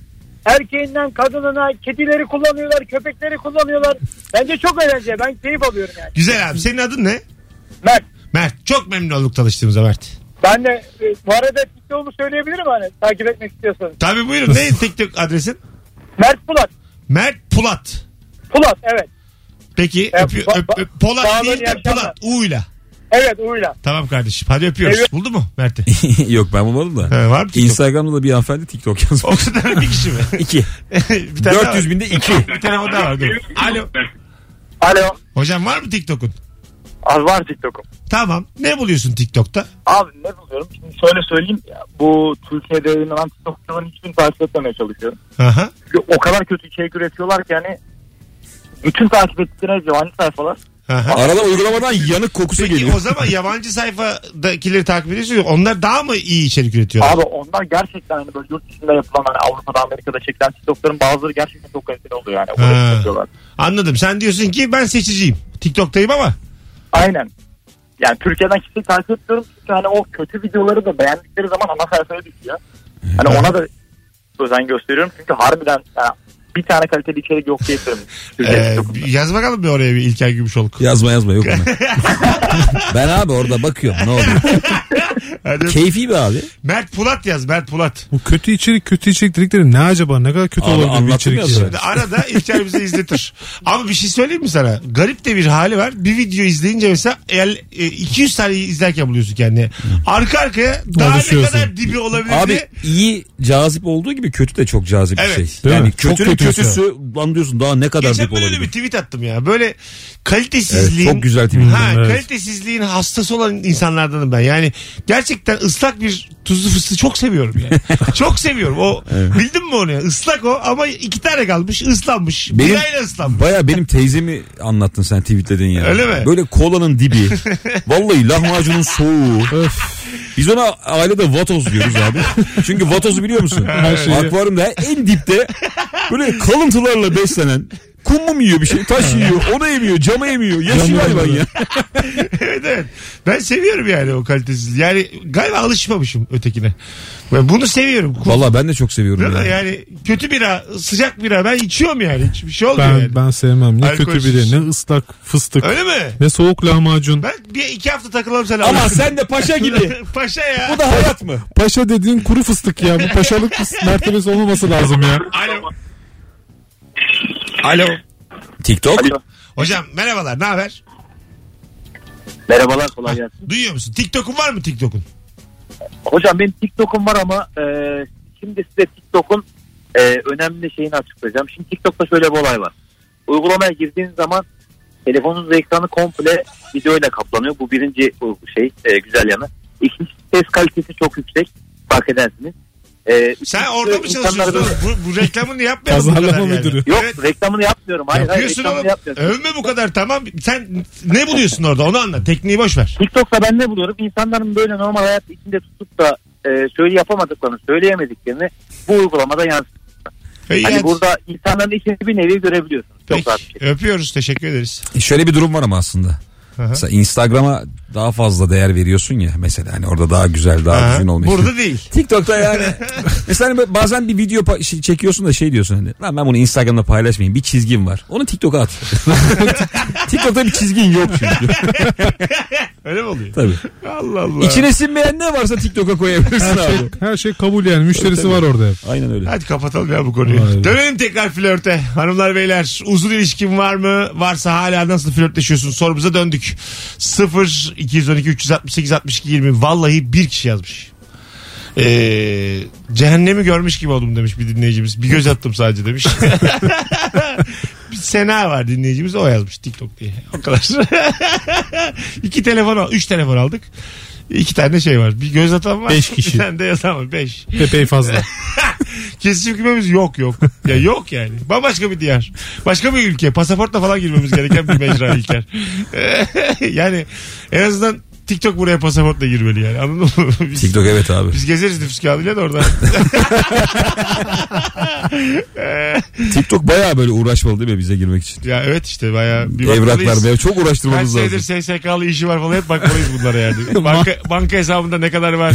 [SPEAKER 5] erkeğinden kadınına kedileri kullanıyorlar, köpekleri kullanıyorlar. Bence çok eğlenceli. Ben keyif alıyorum yani.
[SPEAKER 2] Güzel abi. Senin adın ne?
[SPEAKER 5] Mert,
[SPEAKER 2] Mert. Çok memnun olduk tanıştığımıza Mert.
[SPEAKER 5] ben de e, bu arada TikTok'umu söyleyebilirim hani takip etmek istiyorsanız.
[SPEAKER 2] Tabii buyurun. Ne TikTok adresin?
[SPEAKER 5] Mert Pulat.
[SPEAKER 2] Mert Pulat.
[SPEAKER 5] Pulat evet.
[SPEAKER 2] Peki
[SPEAKER 5] Ya,
[SPEAKER 2] öpü-
[SPEAKER 5] ba-
[SPEAKER 2] öp- öp-
[SPEAKER 5] ba-
[SPEAKER 2] Polat değil
[SPEAKER 5] iyi
[SPEAKER 2] de
[SPEAKER 5] akşamlar.
[SPEAKER 2] Pulat. U'yla.
[SPEAKER 5] Evet Uyla.
[SPEAKER 2] Tamam kardeşim. Hadi öpüyoruz.
[SPEAKER 5] Evet.
[SPEAKER 2] Buldu mu Mert'i?
[SPEAKER 3] Eh, Yok ben bulmadım da.
[SPEAKER 2] He, var mı TikTok?
[SPEAKER 3] Instagram'da da bir hanımefendi Tiktok
[SPEAKER 2] O
[SPEAKER 3] yazmış.
[SPEAKER 2] kadar bir kişi mi?
[SPEAKER 3] 2.
[SPEAKER 2] bir tane
[SPEAKER 3] 400
[SPEAKER 2] daha
[SPEAKER 3] binde 2.
[SPEAKER 2] var. Bir tane daha var. Dur. Alo.
[SPEAKER 5] Alo.
[SPEAKER 2] Hocam var mı TikTok'un?
[SPEAKER 5] Az var TikTok'um.
[SPEAKER 2] Tamam. Ne buluyorsun TikTok'ta?
[SPEAKER 5] Abi ne buluyorum? Şimdi şöyle söyleyeyim. ya, Bu Türkiye'de yayınlanan TikTokçuların hiçbirini takip etmemeye çalışıyorum.
[SPEAKER 2] Aha.
[SPEAKER 5] Çünkü o kadar kötü içerik üretiyorlar ki yani bütün takip ettikleri yabancı sayfalar.
[SPEAKER 2] Aha.
[SPEAKER 3] Arada uygulamadan yanık kokusu
[SPEAKER 2] Peki
[SPEAKER 3] geliyor.
[SPEAKER 2] o zaman yabancı sayfadakileri takip ediyorsunuz. Onlar daha mı iyi içerik üretiyorlar?
[SPEAKER 5] Abi onlar gerçekten hani böyle yurt dışında yapılan hani Avrupa'da Amerika'da çekilen TikTok'ların bazıları gerçekten çok kaliteli oluyor yani. O
[SPEAKER 2] Ha.
[SPEAKER 5] kadar yapıyorlar.
[SPEAKER 2] Anladım. Sen diyorsun ki ben seçiciyim. TikTok'tayım ama.
[SPEAKER 5] Aynen. Yani Türkiye'den kimseyi takip etmiyorum. Çünkü hani o kötü videoları da beğendikleri zaman ana sayfaya düşüyor. Hani ona da özen gösteriyorum. Çünkü harbiden yani bir tane kaliteli içerik yok diye söylüyorum. Türkiye
[SPEAKER 2] Ee,
[SPEAKER 5] TikTok'unda.
[SPEAKER 2] yaz bakalım bir oraya bir İlker Gümüşoluk.
[SPEAKER 3] Yazma yazma yok ona. ben abi orada bakıyorum ne oluyor.
[SPEAKER 2] Hadi.
[SPEAKER 3] Keyfi bir abi.
[SPEAKER 2] Mert Pulat yaz. Mert Pulat.
[SPEAKER 4] Bu kötü içerik kötü içerik dedikleri ne acaba? Ne kadar kötü
[SPEAKER 3] Abi
[SPEAKER 4] olabilir bir
[SPEAKER 3] anlattım
[SPEAKER 4] içerik?
[SPEAKER 3] ya
[SPEAKER 4] ya?
[SPEAKER 3] zaten.
[SPEAKER 2] Şimdi arada İlker bize izletir. Ama bir şey söyleyeyim mi sana? Garip de bir hali var. Bir video izleyince mesela el, e, 200 tane izlerken buluyorsun kendini. Arka arkaya daha ne
[SPEAKER 4] Alışıyorsun.
[SPEAKER 2] kadar dibi olabilir
[SPEAKER 3] Abi
[SPEAKER 2] diye.
[SPEAKER 3] iyi cazip olduğu gibi kötü de çok cazip
[SPEAKER 2] Evet.
[SPEAKER 3] bir şey.
[SPEAKER 4] Değil
[SPEAKER 3] yani
[SPEAKER 4] mi? Çok
[SPEAKER 3] kötünün
[SPEAKER 4] kötü mesela.
[SPEAKER 3] kötüsü lan diyorsun daha ne kadar
[SPEAKER 2] Geçen
[SPEAKER 3] dip
[SPEAKER 2] böyle bir
[SPEAKER 3] olabilir.
[SPEAKER 2] tweet attım ya. Böyle kalitesizliğin...
[SPEAKER 3] Evet, çok güzel tweet
[SPEAKER 2] Ha,
[SPEAKER 4] attın, evet.
[SPEAKER 2] Kalitesizliğin hastası olan insanlardanım ben. Yani gerçekten ıslak bir tuzlu fıstığı çok seviyorum yani. çok seviyorum. O Bildin mi onu ya? Islak o ama iki tane kalmış ıslanmış.
[SPEAKER 3] Benim-
[SPEAKER 2] Birayla ıslanmış.
[SPEAKER 3] Baya benim teyzemi anlattın sen tweetledin ya.
[SPEAKER 2] Öyle mi?
[SPEAKER 3] Böyle kolanın dibi. Vallahi lahmacunun soğuğu. Biz ona ailede vatoz diyoruz abi. Çünkü vatozu biliyor musun?
[SPEAKER 4] şeyi.
[SPEAKER 3] Akvaryumda en dipte böyle kalıntılarla beslenen kum mu mu yiyor bir şey? Taş yiyor, onu emiyor, camı emiyor. Yaşıyor hayvan ya.
[SPEAKER 2] evet evet. Ben seviyorum yani o kalitesizliği. Yani galiba alışmamışım ötekine. Ben bunu seviyorum. Kul-
[SPEAKER 3] Vallahi ben de çok seviyorum ya.
[SPEAKER 2] Değil mi? Yani kötü bira, sıcak bira ben içiyorum yani. Hiçbir şey olmuyor
[SPEAKER 4] Ben,
[SPEAKER 2] yani.
[SPEAKER 4] ben sevmem. Ne
[SPEAKER 2] Alkolsüz.
[SPEAKER 4] kötü biri ne ıslak fıstık
[SPEAKER 2] Öyle mi?
[SPEAKER 4] ne soğuk lahmacun.
[SPEAKER 2] Ben bir iki hafta takılalım sen.
[SPEAKER 3] Ama sen de paşa gibi.
[SPEAKER 2] Paşa ya.
[SPEAKER 3] Bu da hayat mı?
[SPEAKER 4] Paşa dediğin kuru fıstık ya. Bu paşalık fıs- mertebesi olmaması lazım ya.
[SPEAKER 2] Alo. Alo.
[SPEAKER 3] TikTok?
[SPEAKER 2] Hocam merhabalar ne haber?
[SPEAKER 5] Merhabalar kolay gelsin.
[SPEAKER 2] Duyuyor musun? TikTok'un var mı TikTok'un?
[SPEAKER 5] Hocam benim TikTok'um var ama e, şimdi size TikTok'un e, önemli şeyini açıklayacağım. Şimdi TikTok'ta şöyle bir olay var. Uygulamaya girdiğiniz zaman telefonunuzun ekranı komple videoyla kaplanıyor. Bu birinci bu şey e, güzel yanı. İkincisi ses kalitesi çok yüksek. Fark edersiniz. E,
[SPEAKER 2] Sen
[SPEAKER 5] üçüncüsü
[SPEAKER 2] orada mı çalışıyorsun?
[SPEAKER 5] insanlarda-
[SPEAKER 2] oğlum? Bu, bu reklamını yapmayalım bu
[SPEAKER 4] Pazarlama
[SPEAKER 2] kadar yani.
[SPEAKER 4] müdürü.
[SPEAKER 5] Yok
[SPEAKER 2] Evet.
[SPEAKER 5] reklamını yapmıyorum. Hayır, hayır
[SPEAKER 2] Yapıyorsun
[SPEAKER 5] reklamını
[SPEAKER 2] oğlum.
[SPEAKER 5] yapmıyorum.
[SPEAKER 2] Övme bu kadar tamam. Sen ne buluyorsun orada onu anlat. Tekniği boş ver.
[SPEAKER 5] TikTok'ta ben ne buluyorum? İnsanların böyle normal hayat içinde tutup da e, söyle yapamadıklarını, söyleyemediklerini bu uygulamada yansıtıyor.
[SPEAKER 2] İyi
[SPEAKER 5] Hani
[SPEAKER 2] hadi.
[SPEAKER 5] burada insanların içini bir nevi görebiliyorsunuz. Çok rahat bir şey.
[SPEAKER 2] Peki, öpüyoruz teşekkür ederiz.
[SPEAKER 3] E Şöyle bir durum var ama aslında.
[SPEAKER 2] Aha.
[SPEAKER 3] Mesela Instagram'a daha fazla değer veriyorsun ya mesela hani orada daha güzel daha
[SPEAKER 2] Aha.
[SPEAKER 3] düzgün olmuş.
[SPEAKER 2] Burada değil.
[SPEAKER 3] TikTok'ta yani. mesela hani bazen bir video pa- şey çekiyorsun da şey diyorsun hani. Lan ben bunu Instagram'da paylaşmayayım. Bir çizgim var. Onu TikTok'a at. TikTok'ta bir çizgin yok çünkü.
[SPEAKER 2] Öyle mi oluyor?
[SPEAKER 3] Tabii.
[SPEAKER 2] Allah Allah.
[SPEAKER 3] İçine sinmeyen ne varsa TikTok'a koyabilirsin
[SPEAKER 4] Her şey,
[SPEAKER 3] abi.
[SPEAKER 4] her şey kabul yani. Müşterisi var orada hep.
[SPEAKER 3] Aynen öyle.
[SPEAKER 2] Hadi kapatalım ya bu konuyu.
[SPEAKER 4] Vay be.
[SPEAKER 2] Dönelim tekrar flörte. Hanımlar beyler uzun ilişkin var mı? Varsa hala nasıl flörtleşiyorsun? Sorumuza döndük. 0 212 368 62 20. Vallahi bir kişi yazmış. Ee, cehennemi görmüş gibi oldum demiş bir dinleyicimiz. Bir göz attım sadece demiş. Sena var dinleyicimiz o yazmış TikTok diye. O kadar. İki telefon al- Üç telefon aldık. İki tane şey var. Bir göz atan var.
[SPEAKER 4] Beş kişi.
[SPEAKER 2] Bir tane de yazan var. Beş.
[SPEAKER 4] Epey fazla.
[SPEAKER 2] Kesişim kümemiz yok yok. Ya yok yani. Bambaşka bir diyar. Başka bir ülke. Pasaportla falan girmemiz gereken bir mecra İlker. yani en azından TikTok buraya pasaportla girmeli yani. Anladın mı? Biz,
[SPEAKER 3] TikTok evet abi.
[SPEAKER 2] biz gezeriz nüfus kağıdıyla da orada.
[SPEAKER 3] TikTok bayağı böyle uğraşmalı değil mi bize girmek için?
[SPEAKER 2] ya evet işte bayağı bir
[SPEAKER 3] Evraklar
[SPEAKER 2] bakmalıyız.
[SPEAKER 3] ve çok
[SPEAKER 2] Kaç
[SPEAKER 3] uğraştırmamız
[SPEAKER 2] senedir
[SPEAKER 3] lazım.
[SPEAKER 2] SSK'lı işi var falan hep bakmalıyız bunlara yani. Banka, banka hesabında ne kadar var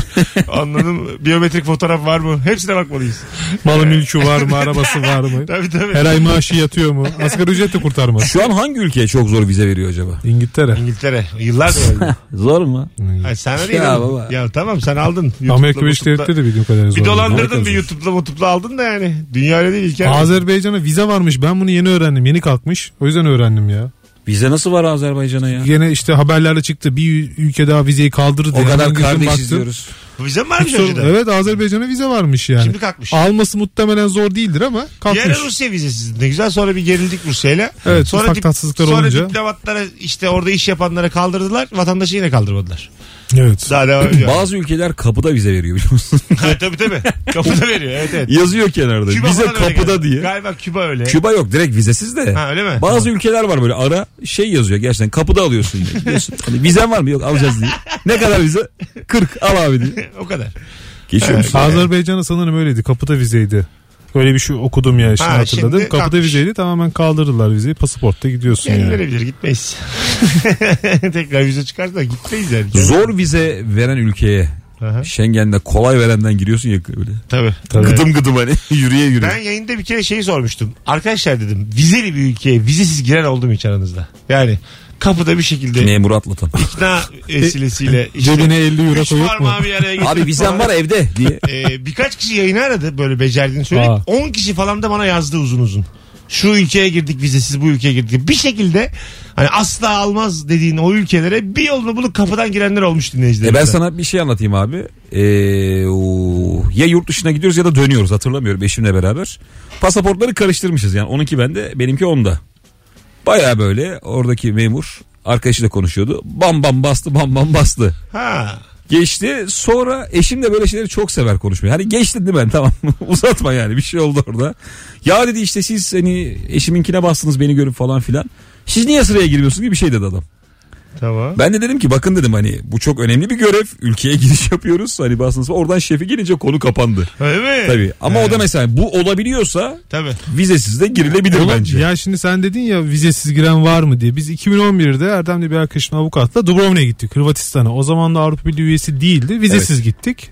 [SPEAKER 2] anladın mı? Biyometrik fotoğraf var mı? Hepsine bakmalıyız.
[SPEAKER 4] Malı mülkü var mı? Arabası var mı?
[SPEAKER 2] Tabii tabii.
[SPEAKER 4] Her ay maaşı yatıyor mu? Asgari ücret de kurtarmaz.
[SPEAKER 3] Şu an hangi ülkeye çok zor vize veriyor acaba?
[SPEAKER 4] İngiltere.
[SPEAKER 2] İngiltere yıllardır öyle.
[SPEAKER 3] Zor mu?
[SPEAKER 2] Ay sana değil
[SPEAKER 3] Ya
[SPEAKER 2] ama.
[SPEAKER 3] baba.
[SPEAKER 2] Ya tamam sen aldın. YouTube'la,
[SPEAKER 4] Amerika Birleşik
[SPEAKER 2] YouTube'la.
[SPEAKER 4] Devletleri de bildiğim kadarıyla zor.
[SPEAKER 2] Bir dolandırdın
[SPEAKER 3] Amerika'da
[SPEAKER 2] bir
[SPEAKER 3] zor.
[SPEAKER 2] YouTube'la mutupla aldın da yani. Dünya öyle değil İlker.
[SPEAKER 4] Azerbaycan'a vize varmış. Ben bunu yeni öğrendim. Yeni kalkmış. O yüzden öğrendim ya.
[SPEAKER 3] Vize nasıl var Azerbaycan'a ya?
[SPEAKER 4] Gene işte haberlerle çıktı. Bir ülke daha vizeyi kaldırdı diye.
[SPEAKER 3] O
[SPEAKER 4] Hemen
[SPEAKER 3] kadar
[SPEAKER 4] gittim
[SPEAKER 3] kardeşiz
[SPEAKER 4] baktım.
[SPEAKER 3] diyoruz.
[SPEAKER 2] Vize mi varmış
[SPEAKER 4] Sonra-
[SPEAKER 2] önceden?
[SPEAKER 4] Evet Azerbaycan'a vize varmış yani.
[SPEAKER 2] Şimdi kalkmış.
[SPEAKER 4] Alması muhtemelen zor değildir ama
[SPEAKER 2] Bir ara
[SPEAKER 4] kalkmış.
[SPEAKER 2] Rusya vizesi ne güzel sonra bir gerildik Rusya'yla.
[SPEAKER 4] Evet,
[SPEAKER 2] sonra
[SPEAKER 4] ufak tatsızlıklar
[SPEAKER 2] sonra
[SPEAKER 4] olunca.
[SPEAKER 2] diplomatlara işte orada iş yapanlara kaldırdılar. Vatandaşı yine kaldırmadılar.
[SPEAKER 4] Evet.
[SPEAKER 2] Daha devam ediyor.
[SPEAKER 3] Bazı ülkeler kapıda vize veriyor biliyor musun?
[SPEAKER 2] ha, tabii tabii. Kapıda veriyor evet evet.
[SPEAKER 3] Yazıyor kenarda.
[SPEAKER 2] Küba
[SPEAKER 3] vize
[SPEAKER 2] falan öyle
[SPEAKER 3] kapıda
[SPEAKER 2] galiba.
[SPEAKER 3] diye.
[SPEAKER 2] Galiba Küba öyle.
[SPEAKER 3] Küba yok direkt vizesiz de.
[SPEAKER 2] Ha, öyle mi?
[SPEAKER 3] Bazı ülkeler var böyle ara şey yazıyor gerçekten kapıda alıyorsun. yine. Gidiyorsun. Hani vizen var mı? Yok alacağız diye. Ne kadar vize? 40 al abi diye.
[SPEAKER 2] E, o kadar.
[SPEAKER 3] Geçiyor musun?
[SPEAKER 4] Azerbaycan'a sanırım öyleydi. Kapıda vizeydi. Öyle bir şey okudum ya şimdi
[SPEAKER 2] Ha,
[SPEAKER 4] hatırladım.
[SPEAKER 2] şimdi
[SPEAKER 4] Kapıda
[SPEAKER 2] kalkmış.
[SPEAKER 4] vizeydi tamamen kaldırdılar vizeyi. Pasaportta gidiyorsun
[SPEAKER 2] Yani
[SPEAKER 4] yani.
[SPEAKER 2] verebilir gitmeyiz. Tekrar vize çıkarsa gitmeyiz yani.
[SPEAKER 3] Zor vize veren ülkeye
[SPEAKER 2] Aha.
[SPEAKER 3] Schengen'de kolay verenden giriyorsun ya böyle.
[SPEAKER 2] Tabii.
[SPEAKER 3] Gıdım gıdım hani yürüye yürüye.
[SPEAKER 2] Ben yayında bir kere şeyi sormuştum. Arkadaşlar dedim vizeli bir ülkeye vizesiz giren oldu mu hiç aranızda? Yani kapıda bir şekilde
[SPEAKER 3] Memur atlatan.
[SPEAKER 2] ikna
[SPEAKER 3] E,
[SPEAKER 2] vesilesiyle işte
[SPEAKER 4] Cebine 50 euro
[SPEAKER 2] üç
[SPEAKER 4] koyup mu?
[SPEAKER 2] parmağı bir araya getirip
[SPEAKER 3] Abi vizen
[SPEAKER 2] falan.
[SPEAKER 3] var evde diye.
[SPEAKER 2] Ee, birkaç kişi yayını aradı böyle becerdiğini söyleyip
[SPEAKER 4] Aa.
[SPEAKER 2] 10 kişi falan da bana yazdı uzun uzun. Şu ülkeye girdik vizesiz bu ülkeye girdik. Bir şekilde hani asla almaz dediğin o ülkelere bir yolunu bulup kapıdan girenler olmuş dinleyiciler.
[SPEAKER 3] E ben sana bir şey anlatayım abi. Ee, o- ya yurt dışına gidiyoruz ya da dönüyoruz hatırlamıyorum eşimle beraber. Pasaportları karıştırmışız yani onunki bende benimki onda. Baya böyle oradaki memur arkadaşıyla konuşuyordu. Bam bam bastı bam bam bastı.
[SPEAKER 2] Ha.
[SPEAKER 3] Geçti sonra eşim de böyle şeyleri çok sever konuşmayı. Hani geçti değil mi tamam mı? uzatma yani bir şey oldu orada. Ya dedi işte siz hani eşiminkine bastınız beni görüp falan filan. Siz niye sıraya girmiyorsunuz gibi bir şey dedi adam.
[SPEAKER 2] Tamam.
[SPEAKER 3] Ben de dedim ki bakın dedim hani bu çok önemli bir görev. Ülkeye giriş yapıyoruz. Hani basınız var. oradan şefi gelince konu kapandı.
[SPEAKER 2] Öyle mi?
[SPEAKER 3] Tabii ama o da mesela bu olabiliyorsa
[SPEAKER 2] Tabii.
[SPEAKER 3] vizesiz de girilebilir
[SPEAKER 4] Oğlum,
[SPEAKER 3] bence.
[SPEAKER 4] Ya şimdi sen dedin ya vizesiz giren var mı diye. Biz 2011'de Erdem'le bir arkadaşım avukatla Dubrovnik'e gittik Hırvatistan'a. O zaman da Avrupa Birliği üyesi değildi. Vizesiz gittik.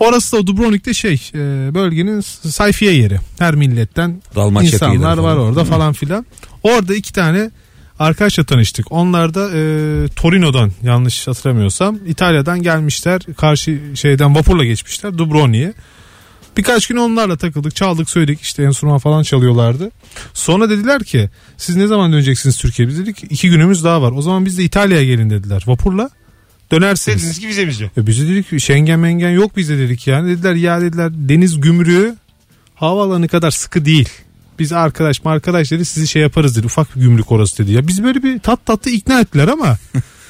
[SPEAKER 4] Orası da Dubrovnik'te şey e, bölgenin sayfiye yeri. Her milletten
[SPEAKER 3] Dalmaçya
[SPEAKER 4] insanlar
[SPEAKER 3] kıyıları
[SPEAKER 4] var
[SPEAKER 3] falan.
[SPEAKER 4] orada falan filan. Orada iki tane arkadaşla tanıştık. Onlar da e, Torino'dan yanlış hatırlamıyorsam İtalya'dan gelmişler. Karşı şeyden vapurla geçmişler Dubrovnik'e. Birkaç gün onlarla takıldık, çaldık, söyledik. işte enstrüman falan çalıyorlardı. Sonra dediler ki siz ne zaman döneceksiniz Türkiye'ye? Biz dedik iki günümüz daha var. O zaman biz de İtalya'ya gelin dediler. Vapurla dönersiniz.
[SPEAKER 2] Dediniz ki vizemiz yok.
[SPEAKER 4] E biz de dedik ki Schengen mengen yok bize dedik yani. Dediler ya dediler deniz gümrüğü havaalanı kadar sıkı değil. Biz arkadaş markadaş dedi sizi şey yaparız dedi. Ufak bir gümrük orası dedi. Ya biz böyle bir tat tatlı ikna ettiler ama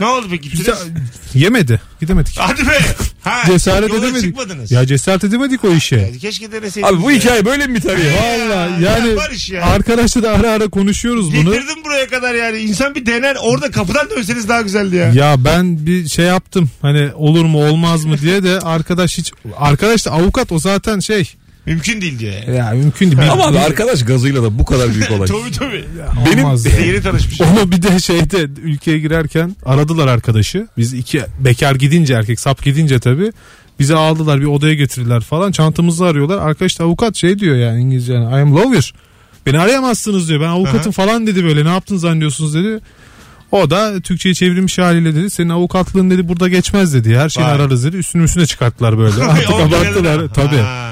[SPEAKER 2] Ne oldu peki?
[SPEAKER 4] biz
[SPEAKER 2] Gittiniz?
[SPEAKER 4] de yemedi. Gidemedik.
[SPEAKER 2] Hadi be. Ha,
[SPEAKER 4] Cesaret
[SPEAKER 2] yola
[SPEAKER 4] edemedik.
[SPEAKER 2] çıkmadınız.
[SPEAKER 4] Ya cesaret edemedik o işe.
[SPEAKER 2] Yani keşke deneseydiniz.
[SPEAKER 3] Abi bu
[SPEAKER 2] ya.
[SPEAKER 3] hikaye böyle mi biter ya?
[SPEAKER 4] Vallahi
[SPEAKER 2] Ya,
[SPEAKER 4] yani
[SPEAKER 2] barış ya.
[SPEAKER 4] arkadaşla da ara ara konuşuyoruz bunu.
[SPEAKER 2] Getirdim buraya kadar yani. İnsan bir dener. Orada kapıdan dönseniz daha güzeldi ya.
[SPEAKER 4] Ya ben bir şey yaptım hani olur mu olmaz mı diye de arkadaş hiç arkadaş da avukat o zaten şey
[SPEAKER 2] Mümkün değil diyor yani.
[SPEAKER 4] ya mümkün değil.
[SPEAKER 3] Ama abi arkadaş gazıyla da bu kadar büyük olay.
[SPEAKER 2] Tabii tabii.
[SPEAKER 4] Benim
[SPEAKER 2] Bir de Yeni tanışmış.
[SPEAKER 4] Onu bir de şeyde ülkeye girerken aradılar arkadaşı. Biz iki bekar gidince erkek sap gidince tabii. Bizi aldılar bir odaya getirdiler falan. Çantamızı arıyorlar. Arkadaş da avukat şey diyor yani İngilizce yani I am lawyer. Beni arayamazsınız diyor. Ben avukatım falan dedi böyle. Ne yaptın zannediyorsunuz dedi. O da Türkçe'ye çevrilmiş haliyle dedi. Senin avukatlığın dedi burada geçmez dedi. Her şeyi
[SPEAKER 2] Vay.
[SPEAKER 4] ararız dedi. Üstünü üstüne çıkarttılar böyle. Artık
[SPEAKER 2] On liradan-
[SPEAKER 4] abarttılar. Tabii.
[SPEAKER 2] Ha.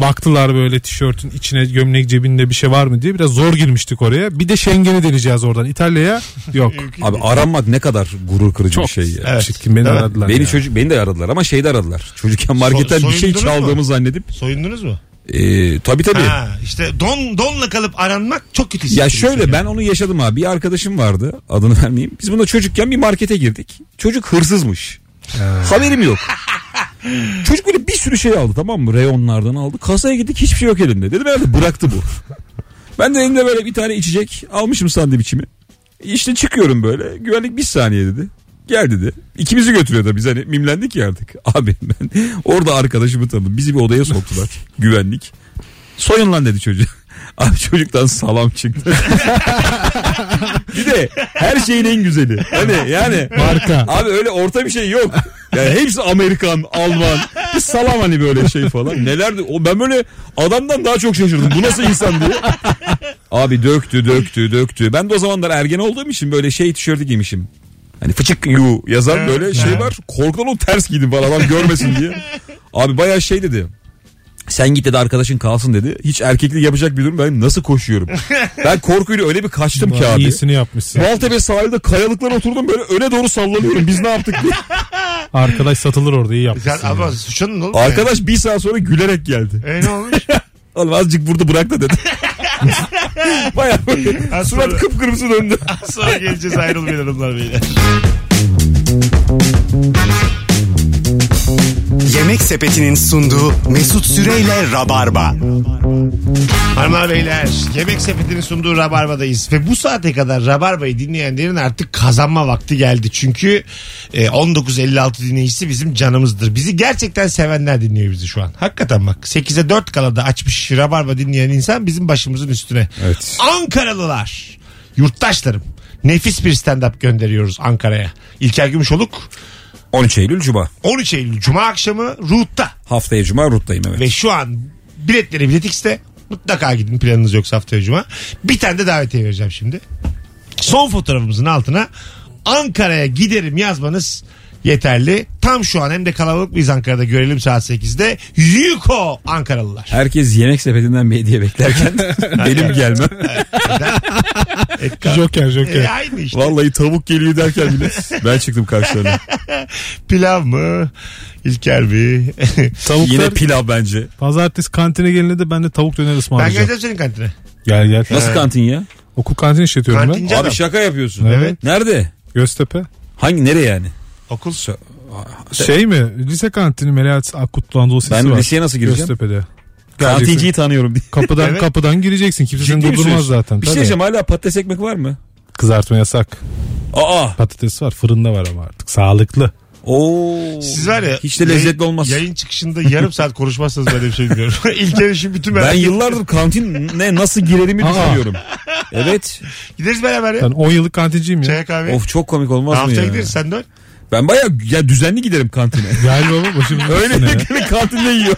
[SPEAKER 4] Baktılar böyle tişörtün içine gömlek cebinde bir şey var mı diye biraz zor girmiştik oraya. Bir de Schengen'i deneyeceğiz oradan İtalya'ya. Yok.
[SPEAKER 3] Abi aranmak ne kadar gurur kırıcı bir şey ya.
[SPEAKER 2] Evet.
[SPEAKER 4] Çirkin beni
[SPEAKER 2] Değil mi?
[SPEAKER 4] aradılar.
[SPEAKER 3] Beni
[SPEAKER 4] ya.
[SPEAKER 3] çocuk beni de aradılar ama şeyde aradılar. Çocukken marketten
[SPEAKER 2] So-
[SPEAKER 3] bir şey
[SPEAKER 2] soyundunuz mu?
[SPEAKER 3] çaldığımı zannedip
[SPEAKER 2] Soyundunuz mu?
[SPEAKER 3] Ee, tabii tabii.
[SPEAKER 2] Ha, işte don donla kalıp aranmak çok kötü.
[SPEAKER 3] Ya
[SPEAKER 2] hissettiriyor
[SPEAKER 3] şöyle
[SPEAKER 2] seni.
[SPEAKER 3] ben onu yaşadım abi. Bir arkadaşım vardı. Adını vermeyeyim. Biz bunda çocukken bir markete girdik. Çocuk hırsızmış. Haberim yok. Çocuk böyle bir sürü şey aldı tamam mı? Reyonlardan aldı. Kasaya gittik hiçbir şey yok elimde. Dedim herhalde bıraktı bu. ben de elimde böyle bir tane içecek almışım sandviçimi. İşte çıkıyorum böyle. Güvenlik bir saniye dedi. Gel dedi. İkimizi götürüyor da biz hani mimlendik ya artık. Abi ben orada arkadaşımı tanıdım. Bizi bir odaya soktular. Güvenlik. Soyun lan dedi çocuğa. Abi çocuktan salam çıktı. bir de her şeyin en güzeli. Hani yani.
[SPEAKER 4] Marka.
[SPEAKER 3] Abi öyle orta bir şey yok. Yani hepsi Amerikan, Alman. Bir salam hani böyle şey falan. Nelerdi? O ben böyle adamdan daha çok şaşırdım. Bu nasıl insan diye. Abi döktü, döktü, döktü. Ben de o zamanlar ergen olduğum için böyle şey tişörtü giymişim. Hani fıçık yu yazan böyle şey var. Korkudan onu ters giydim falan adam görmesin diye. Abi bayağı şey dedi. Sen git dedi arkadaşın kalsın dedi. Hiç erkeklik yapacak bir durum ben nasıl koşuyorum. Ben korkuyla öyle bir kaçtım ki abi.
[SPEAKER 4] İyisini yapmışsın.
[SPEAKER 3] Maltepe sahilde kayalıklara oturdum böyle öne doğru sallanıyorum. Biz ne yaptık diye.
[SPEAKER 4] Arkadaş satılır orada iyi
[SPEAKER 2] Sen
[SPEAKER 4] yapmışsın.
[SPEAKER 2] ama suçun ne olur?
[SPEAKER 3] Arkadaş bir saat sonra gülerek geldi.
[SPEAKER 2] E ne olmuş?
[SPEAKER 3] Oğlum azıcık burada bırak da dedi. Baya böyle
[SPEAKER 2] Az
[SPEAKER 3] surat
[SPEAKER 2] sonra-
[SPEAKER 3] kıpkırmızı döndü.
[SPEAKER 2] Sonra geleceğiz ayrılmayın hanımlar beyler.
[SPEAKER 1] Yemek Sepeti'nin sunduğu Mesut Süreyle Rabarba.
[SPEAKER 2] Hanımlar beyler yemek sepetinin sunduğu Rabarba'dayız ve bu saate kadar Rabarba'yı dinleyenlerin artık kazanma vakti geldi. Çünkü e, 1956 dinleyicisi bizim canımızdır. Bizi gerçekten sevenler dinliyor bizi şu an. Hakikaten bak 8'e 4 kalada açmış Rabarba dinleyen insan bizim başımızın üstüne.
[SPEAKER 3] Evet.
[SPEAKER 2] Ankaralılar, yurttaşlarım nefis bir stand-up gönderiyoruz Ankara'ya. İlker Gümüşoluk
[SPEAKER 3] 13 Eylül Cuma.
[SPEAKER 2] 13 Eylül Cuma akşamı Ruh'ta
[SPEAKER 3] Haftaya Cuma Rut'tayım evet.
[SPEAKER 2] ve şu an biletleri Bilet X'te. Mutlaka gidin planınız yoksa haftaya cuma. Bir tane de davetiye vereceğim şimdi. Son fotoğrafımızın altına Ankara'ya giderim yazmanız yeterli. Tam şu an hem de kalabalık biz Ankara'da görelim saat 8'de. Yuko Ankaralılar.
[SPEAKER 3] Herkes yemek sepetinden bir hediye beklerken benim gelmem.
[SPEAKER 4] Joker
[SPEAKER 2] E,
[SPEAKER 4] Joker.
[SPEAKER 2] aynı işte.
[SPEAKER 3] Vallahi tavuk geliyor derken bile ben çıktım karşılarına.
[SPEAKER 2] Pilav mı? İlker mi?
[SPEAKER 4] Tavuklar
[SPEAKER 3] Yine pilav bence.
[SPEAKER 4] pazartesi kantine gelene de ben de tavuk döner
[SPEAKER 2] ben
[SPEAKER 4] ısmarlayacağım.
[SPEAKER 2] geleceğim senin kantine.
[SPEAKER 4] Gel gel.
[SPEAKER 3] Nasıl kantin ya?
[SPEAKER 4] Okul kantini işletiyorum
[SPEAKER 2] Kantinci adam.
[SPEAKER 3] Abi şaka yapıyorsun.
[SPEAKER 4] ben. Evet.
[SPEAKER 2] Evet.
[SPEAKER 3] Nerede?
[SPEAKER 4] Göztepe.
[SPEAKER 3] Hangi nereye yani?
[SPEAKER 2] Okul.
[SPEAKER 4] Şey mi? Lise kantini Melahat Akkutlu Anadolu Sesi
[SPEAKER 3] Ben
[SPEAKER 4] var.
[SPEAKER 3] liseye nasıl gireceğim?
[SPEAKER 4] Göztepe'de.
[SPEAKER 3] Kantinciyi tanıyorum diye.
[SPEAKER 4] Kapıdan
[SPEAKER 2] Evet.
[SPEAKER 4] kapıdan gireceksin. Kimse
[SPEAKER 3] Ciddi
[SPEAKER 4] seni
[SPEAKER 3] mi
[SPEAKER 4] durdurmaz
[SPEAKER 3] söylüyorsun?
[SPEAKER 4] zaten.
[SPEAKER 3] Bir şey
[SPEAKER 4] Tabii.
[SPEAKER 3] diyeceğim hala patates ekmek var mı?
[SPEAKER 4] Kızartma yasak.
[SPEAKER 3] Aa.
[SPEAKER 4] Patates var. Fırında var ama artık. Sağlıklı.
[SPEAKER 3] Oo.
[SPEAKER 2] Siz var ya.
[SPEAKER 3] Hiç de lezzetli
[SPEAKER 2] yayın-
[SPEAKER 3] olmaz.
[SPEAKER 2] Yayın çıkışında yarım saat konuşmazsanız ben de bir şey bilmiyorum. İlker'in şu bütün
[SPEAKER 3] Ben
[SPEAKER 2] merak
[SPEAKER 3] yıllardır kantin ne nasıl girerimi
[SPEAKER 4] Aa.
[SPEAKER 3] düşünüyorum. Evet.
[SPEAKER 2] Gideriz beraber ya.
[SPEAKER 4] Ben 10 yıllık kantinciyim ya.
[SPEAKER 2] Çaya kahve.
[SPEAKER 3] Of çok komik olmaz mı
[SPEAKER 2] Haftaya
[SPEAKER 3] ya?
[SPEAKER 2] gideriz sen dön.
[SPEAKER 3] Ben baya ya düzenli giderim kantine.
[SPEAKER 4] Gel baba başımın
[SPEAKER 3] Öyle
[SPEAKER 4] üstüne ya.
[SPEAKER 3] bir kantinde yiyor.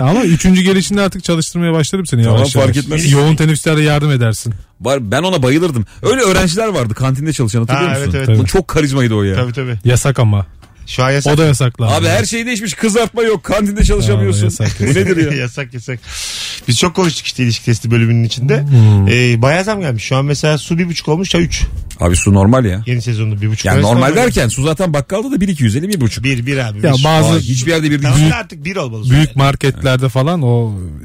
[SPEAKER 4] Ama üçüncü gelişinde artık çalıştırmaya başlarım seni
[SPEAKER 3] Tamam,
[SPEAKER 4] yavaş
[SPEAKER 3] fark
[SPEAKER 4] yavaş.
[SPEAKER 3] etmez.
[SPEAKER 4] Yoğun teneffüslerde yardım edersin.
[SPEAKER 3] Var ben ona bayılırdım. Öyle öğrenciler vardı kantinde çalışan hatırlıyor
[SPEAKER 2] Ha,
[SPEAKER 3] musun?
[SPEAKER 2] evet, evet.
[SPEAKER 3] Bu çok karizmaydı o ya.
[SPEAKER 2] Tabii tabii.
[SPEAKER 4] Yasak ama.
[SPEAKER 2] Şu an yasak.
[SPEAKER 4] O da yasaklandı.
[SPEAKER 3] Abi her şey değişmiş kızartma yok kantinde
[SPEAKER 4] Aa,
[SPEAKER 3] çalışamıyorsun.
[SPEAKER 4] yasak,
[SPEAKER 3] Bu
[SPEAKER 4] yasak.
[SPEAKER 3] nedir ya?
[SPEAKER 2] yasak yasak. Biz çok konuştuk işte ilişki testi bölümünün içinde.
[SPEAKER 3] Hmm.
[SPEAKER 2] Ee, bayağı zam gelmiş. Şu an mesela su bir buçuk olmuş ya üç.
[SPEAKER 3] Abi su normal ya.
[SPEAKER 2] Yeni sezonda bir buçuk.
[SPEAKER 3] Yani
[SPEAKER 2] arası
[SPEAKER 3] normal
[SPEAKER 2] ama-
[SPEAKER 3] derken su zaten bakkalda da 1-250 bir buçuk.
[SPEAKER 2] Bir bir abi.
[SPEAKER 4] Ya
[SPEAKER 2] bir.
[SPEAKER 4] bazı
[SPEAKER 3] Aa, hiçbir yerde bir
[SPEAKER 2] Tamam
[SPEAKER 3] büyük.
[SPEAKER 2] da artık bir olmalı.
[SPEAKER 4] büyük marketlerde falan o e,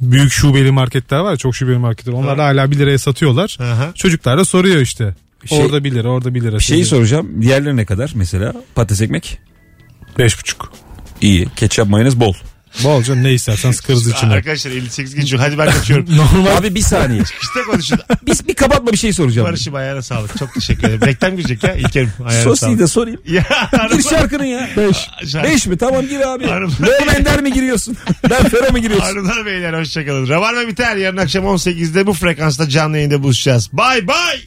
[SPEAKER 4] büyük şubeli marketler var ya, çok şubeli marketler. Onlar hala 1 liraya satıyorlar.
[SPEAKER 2] Aha.
[SPEAKER 4] Çocuklar da soruyor işte.
[SPEAKER 3] Şey-
[SPEAKER 4] orada 1 lira, orada 1 lira.
[SPEAKER 3] Bir şey şeyi soracağım. Diğerleri ne kadar mesela? Patates ekmek.
[SPEAKER 4] 5,5.
[SPEAKER 3] İyi. Ketçap mayonez bol.
[SPEAKER 4] Bolca ne istersen sıkarız
[SPEAKER 2] Aa,
[SPEAKER 4] içine.
[SPEAKER 2] Arkadaşlar 58 geçiyor. Hadi ben kaçıyorum.
[SPEAKER 4] Normal.
[SPEAKER 3] Abi bir saniye.
[SPEAKER 2] Çıkışta konuşun.
[SPEAKER 3] Biz bir kapatma bir şey soracağım.
[SPEAKER 2] Barış'ım ayağına sağlık. Çok teşekkür ederim. Reklam girecek ya İlker'im. Ayağına
[SPEAKER 3] Sosli'yi
[SPEAKER 2] sağlık.
[SPEAKER 3] de sorayım.
[SPEAKER 2] Ya
[SPEAKER 3] Gir
[SPEAKER 2] hanımlar-
[SPEAKER 3] şarkının ya. 5.
[SPEAKER 2] Şarkı-
[SPEAKER 3] 5 mi? Tamam gir abi.
[SPEAKER 2] Hanım-
[SPEAKER 3] Norm Ender mi giriyorsun? Ben Fera mı giriyorsun?
[SPEAKER 2] Hanımlar beyler hoşçakalın. Rabarba biter. Yarın akşam 18'de bu frekansta canlı yayında buluşacağız. Bay bay.